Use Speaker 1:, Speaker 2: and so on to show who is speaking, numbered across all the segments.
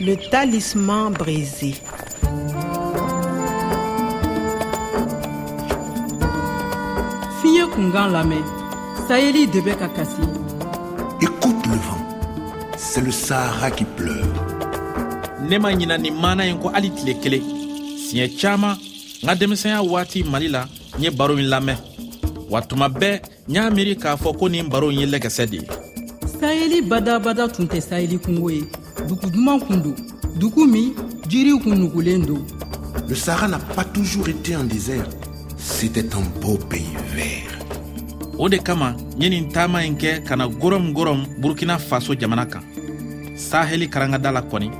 Speaker 1: Le talisman brisé.
Speaker 2: fiɲɛ kunkan lamɛn sayeli de bɛ ka kasi
Speaker 3: Écoute le vent. C'est le Sahara qui pleure.
Speaker 4: ne ma ɲina nin maana ye ko hali tile kelen siɲɛ caaman n ka denmisɛnya waati mali la n ye baro in lamɛn wa tuma bɛɛ n y'a miiri k'a fɔ ko nin baro in ye lɛkɛsɛ de ye
Speaker 2: sayeli badabada tun tɛ sayeli kungo ye dugu duman kun don dugu min jiriw kun nugulen don
Speaker 3: Le Sahara n'a pas toujours été un désert. C'était un beau pays vert.
Speaker 4: o de kama n ye nin taama ɲi kɛ ka na gɔrɔm-gɔrɔm burukina faso jamana kan saheli karangada la kɔni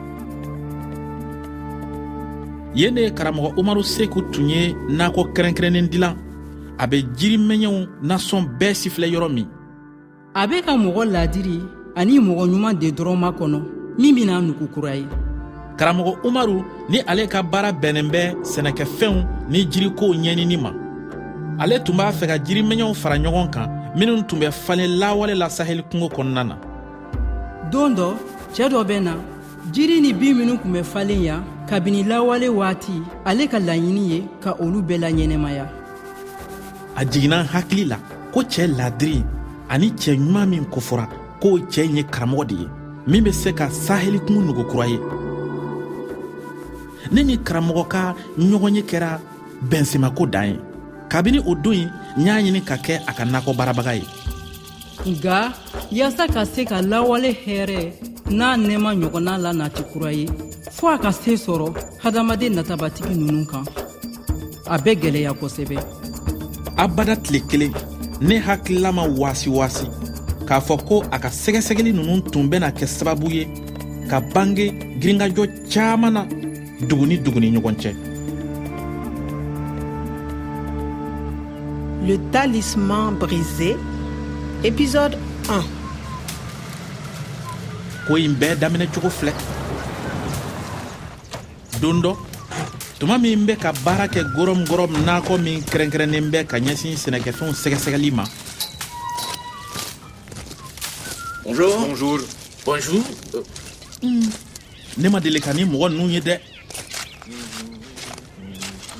Speaker 4: yen de karamɔgɔ umaru seku tun ye nakɔ kɛrɛnkɛrɛnnen dilan a bɛ jirimɛɲɛw nasɔn bɛɛ sifilɛ yɔrɔ min
Speaker 2: a bɛ ka mɔgɔ ladiri ani mɔgɔ ɲuman de dɔrɔn makɔnɔ min bena nugu kura ye
Speaker 4: karamɔgɔ umaru ni ale ka baara bɛnnen bɛ sɛnɛkɛfɛnw ni jirikow ɲɛɲini ma ale tun b'a fɛ ka jiriminɛw fara ɲɔgɔn kan minw tun bɛ falen lawale la saheli kungo kɔnɔna na
Speaker 2: don dɔ cɛɛ dɔ bɛ na jiri ni bin minw kun bɛ falen yan kabini lawale waati ale ka laɲini ye ka olu bɛɛ laɲɛnɛmaya
Speaker 4: a jiginna n hakili la ko cɛɛ ladiri ani cɛ ɲuman min kofɔra k'o cɛɛ in ye karamɔgɔ de ye min be se ka saheli kungo nugukura ye ne ni karamɔgɔ ka ɲɔgɔn ye kɛra bɛnsemako dan ye kabini o don ye n y'a ɲini ka kɛ a ka nakɔ baarabaga ye
Speaker 2: nga yaasa ka se ka lawale hɛɛrɛ n'a nɛɛma ɲɔgɔnna la nati kura ye fɔɔ a ka see sɔrɔ hadamaden natabatigi nunu kan a bɛ gwɛlɛya kosɛbɛ
Speaker 4: abada tile kelen ne hakilila ma waasiwaasi k'a fɔ ko a ka sɛgɛsɛgɛli ninnu tun bɛna kɛ sababu ye ka bange girinkajɔ caaman na dugu ni dugu ni ɲɔgɔn cɛ
Speaker 1: Le talisman brisé. Épisode 1.
Speaker 4: ko in bɛɛ daminɛ cogo filɛ don dɔ tuma min bɛ ka baara kɛ gɔrɔm-gɔrɔm nakɔ min kɛrɛnkɛrɛnnen bɛ ka ɲɛsin sɛnɛkɛfɛnw sɛgɛsɛgɛli ma
Speaker 5: Bonjour. Bonjour.
Speaker 6: Bonjour. Euh,
Speaker 4: ne ma deli ka ni mɔgɔ ninnu ye dɛ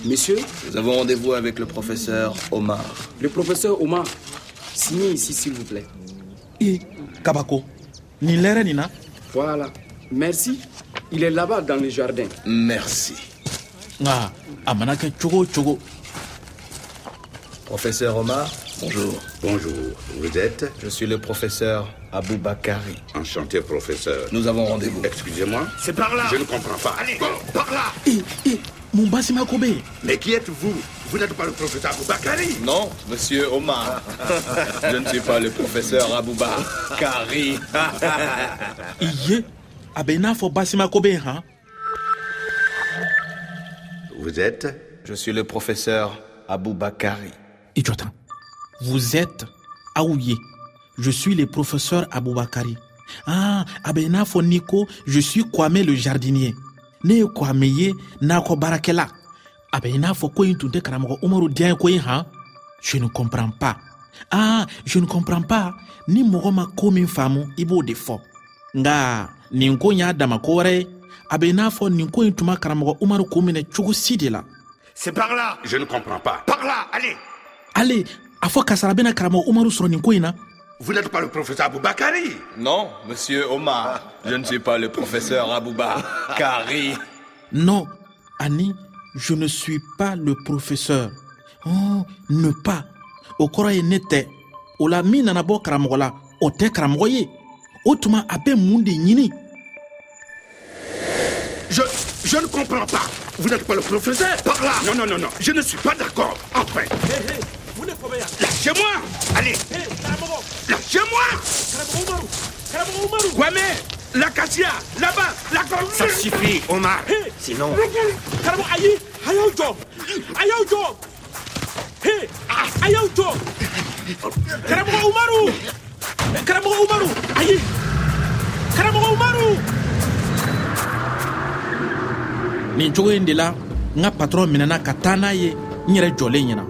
Speaker 5: Messieurs,
Speaker 6: Nous avons rendez-vous avec le professeur Omar.
Speaker 5: le professeur Omar, signez ici s'il vous plaît.
Speaker 4: i kabako nin lɛrɛ nin na
Speaker 5: Voilà. Merci. Il est là-bas dans le jardin.
Speaker 6: Merci.
Speaker 4: nka a mana kɛ cogo o cogo
Speaker 6: Professeur Omar, bonjour.
Speaker 7: Bonjour, vous êtes
Speaker 6: Je suis le professeur Abou Bakari.
Speaker 7: enchanté, professeur.
Speaker 6: Nous avons rendez-vous.
Speaker 7: Excusez-moi C'est par là Je ne comprends pas. Allez, par là
Speaker 4: Eh, mun basimako be yen
Speaker 7: Mais qui êtes-vous Vous n'êtes pas le professeur Boubacari
Speaker 6: Non, monsieur Omar. Je ne suis pas le professeur Abou Bakari.
Speaker 4: i ye a bɛ i ah n'a fɔ basimako bɛ yen han
Speaker 7: Vous êtes
Speaker 6: Je suis le professeur Abou Bakari.
Speaker 4: i jɔ tan vous êtes aw ye je suis le professeur aboubakari ah a bɛ i n'a fɔ n'i ko je suis kwame le jardinier ne ye kwame ye nakɔ baarakɛla a bɛ i n'a fɔ ko in tun tɛ karamɔgɔ umaru diya ye ko ye han je ne comprends pas ah je ne comprends pas ni mɔgɔ ma ko min faamu i b'o de fɔ nga nin ko in y'a dama ko wɛrɛ ye a bɛ i n'a fɔ nin ko in tun ma karamɔgɔ umaru k'o minɛ cogo si de la
Speaker 7: C'est par là Je ne comprends pas. Par là, allez
Speaker 4: ale a fɔ kasara bena karamɔgɔ umaru sɔrɔ nin ko ɲi na
Speaker 7: Vous n'êtes pas le professeur Boubacari
Speaker 6: Non, monsieur Omar. Je ne suis pas le professeur Abou Bakari.
Speaker 4: non ani je ne suis pas le professeur oh, ne pas o kɔrɔ ye ne tɛ o la min nana bɔ karamɔgɔ la o tɛ karamɔgɔ ye o tuma a bɛ mun de ɲini
Speaker 7: Je. Je ne comprends pas. Vous n'êtes pas le professeur Par là Non, non, non, non. Je ne suis pas d'accord. Enfin. Lâchez-moi Allez Lâchez-moi Kwame L'acacia Là-bas La corne Ça suffit, Omar Sinon...
Speaker 4: Ah, nin cogo yen de la n ka patɔrɔn minɛna ka taa n'a ye n yɛrɛ jɔlen ɲɛna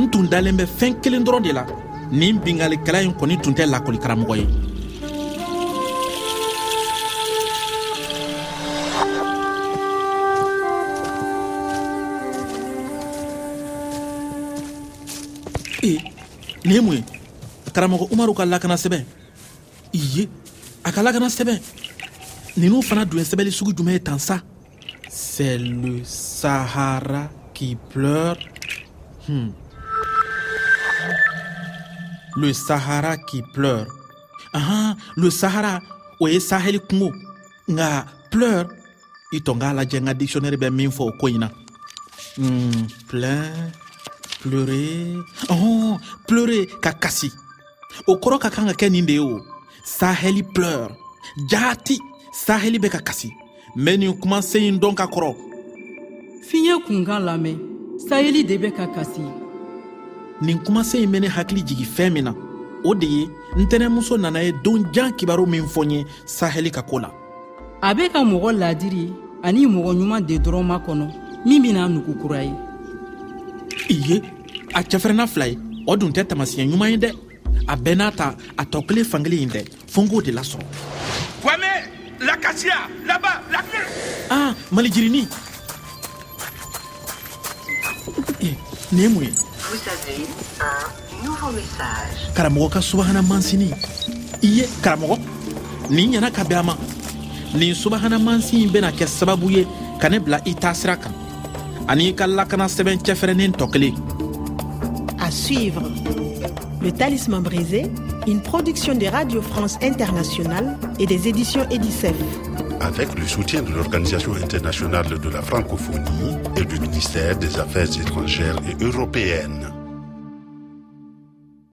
Speaker 4: n tun dalen bɛ fɛn kelen dɔrɔn de la nin bingalikɛla in kɔni tun tɛ lakɔlikaramɔgɔ ye Eh, nin ye mun ye karamɔgɔ umaru ka lakana sɛbɛn iye a ka lakana sɛbɛn ninnu fana dun ye sɛbɛli sugu jumɛn ye tan sa c'est le sahara qui pleure Hmm. le sahara qui pleure ahan le sahara o ye sahɛli kungo nka pleure i tɔn k'a lajɛ n ka dictionnaire bɛ min fɔ o ko in na Hmm, plein pleurer oh, pleurer ka kasi o kɔrɔ ka kan ka kɛ nin de ye o sahɛli pleur jaati sahɛli bɛ ka kasi n bɛ nin kumasen in dɔn ka kɔrɔ
Speaker 2: fiɲɛ kunkan lamɛn sayeli de bɛ ka kasi
Speaker 4: nin kumasen in bɛ ne hakili jigi fɛn min na o de ye ntɛnɛmuso nana ye don jan kibaru min fɔ n ye sahɛli ka ko la
Speaker 2: a bɛ ka mɔgɔ ladiri ani mɔgɔ ɲuman de dɔrɔn makɔnɔ min bɛna nugu kura ye
Speaker 4: iye a cɛfɛrɛnna fila ye o dun tɛ tamasiyɛn ɲuman ye dɛ a bɛɛ n'a ta a tɔ kelen fankelen in dɛ fo n k'o de lasɔrɔ
Speaker 7: Kwame, la cassia, là-bas, la
Speaker 4: ah malijirini Eh, nin ye mun ye
Speaker 8: Vous avez un nouveau message.
Speaker 4: karamɔgɔ ka subahana mansini i ye karamɔgɔ nin ɲɛna ka bɛn a ma nin subahana mansin in bena kɛ sababu ye ka ne bila i taasira kan ani i ka lakana sɛbɛn cɛfɛrɛnnen tɔ kelen
Speaker 1: À suivre. Le Talisman brisé, une production de Radio France Internationale et des éditions Edicef.
Speaker 9: avec le soutien de l'Organisation internationale de la francophonie et du ministère des Affaires étrangères et européennes.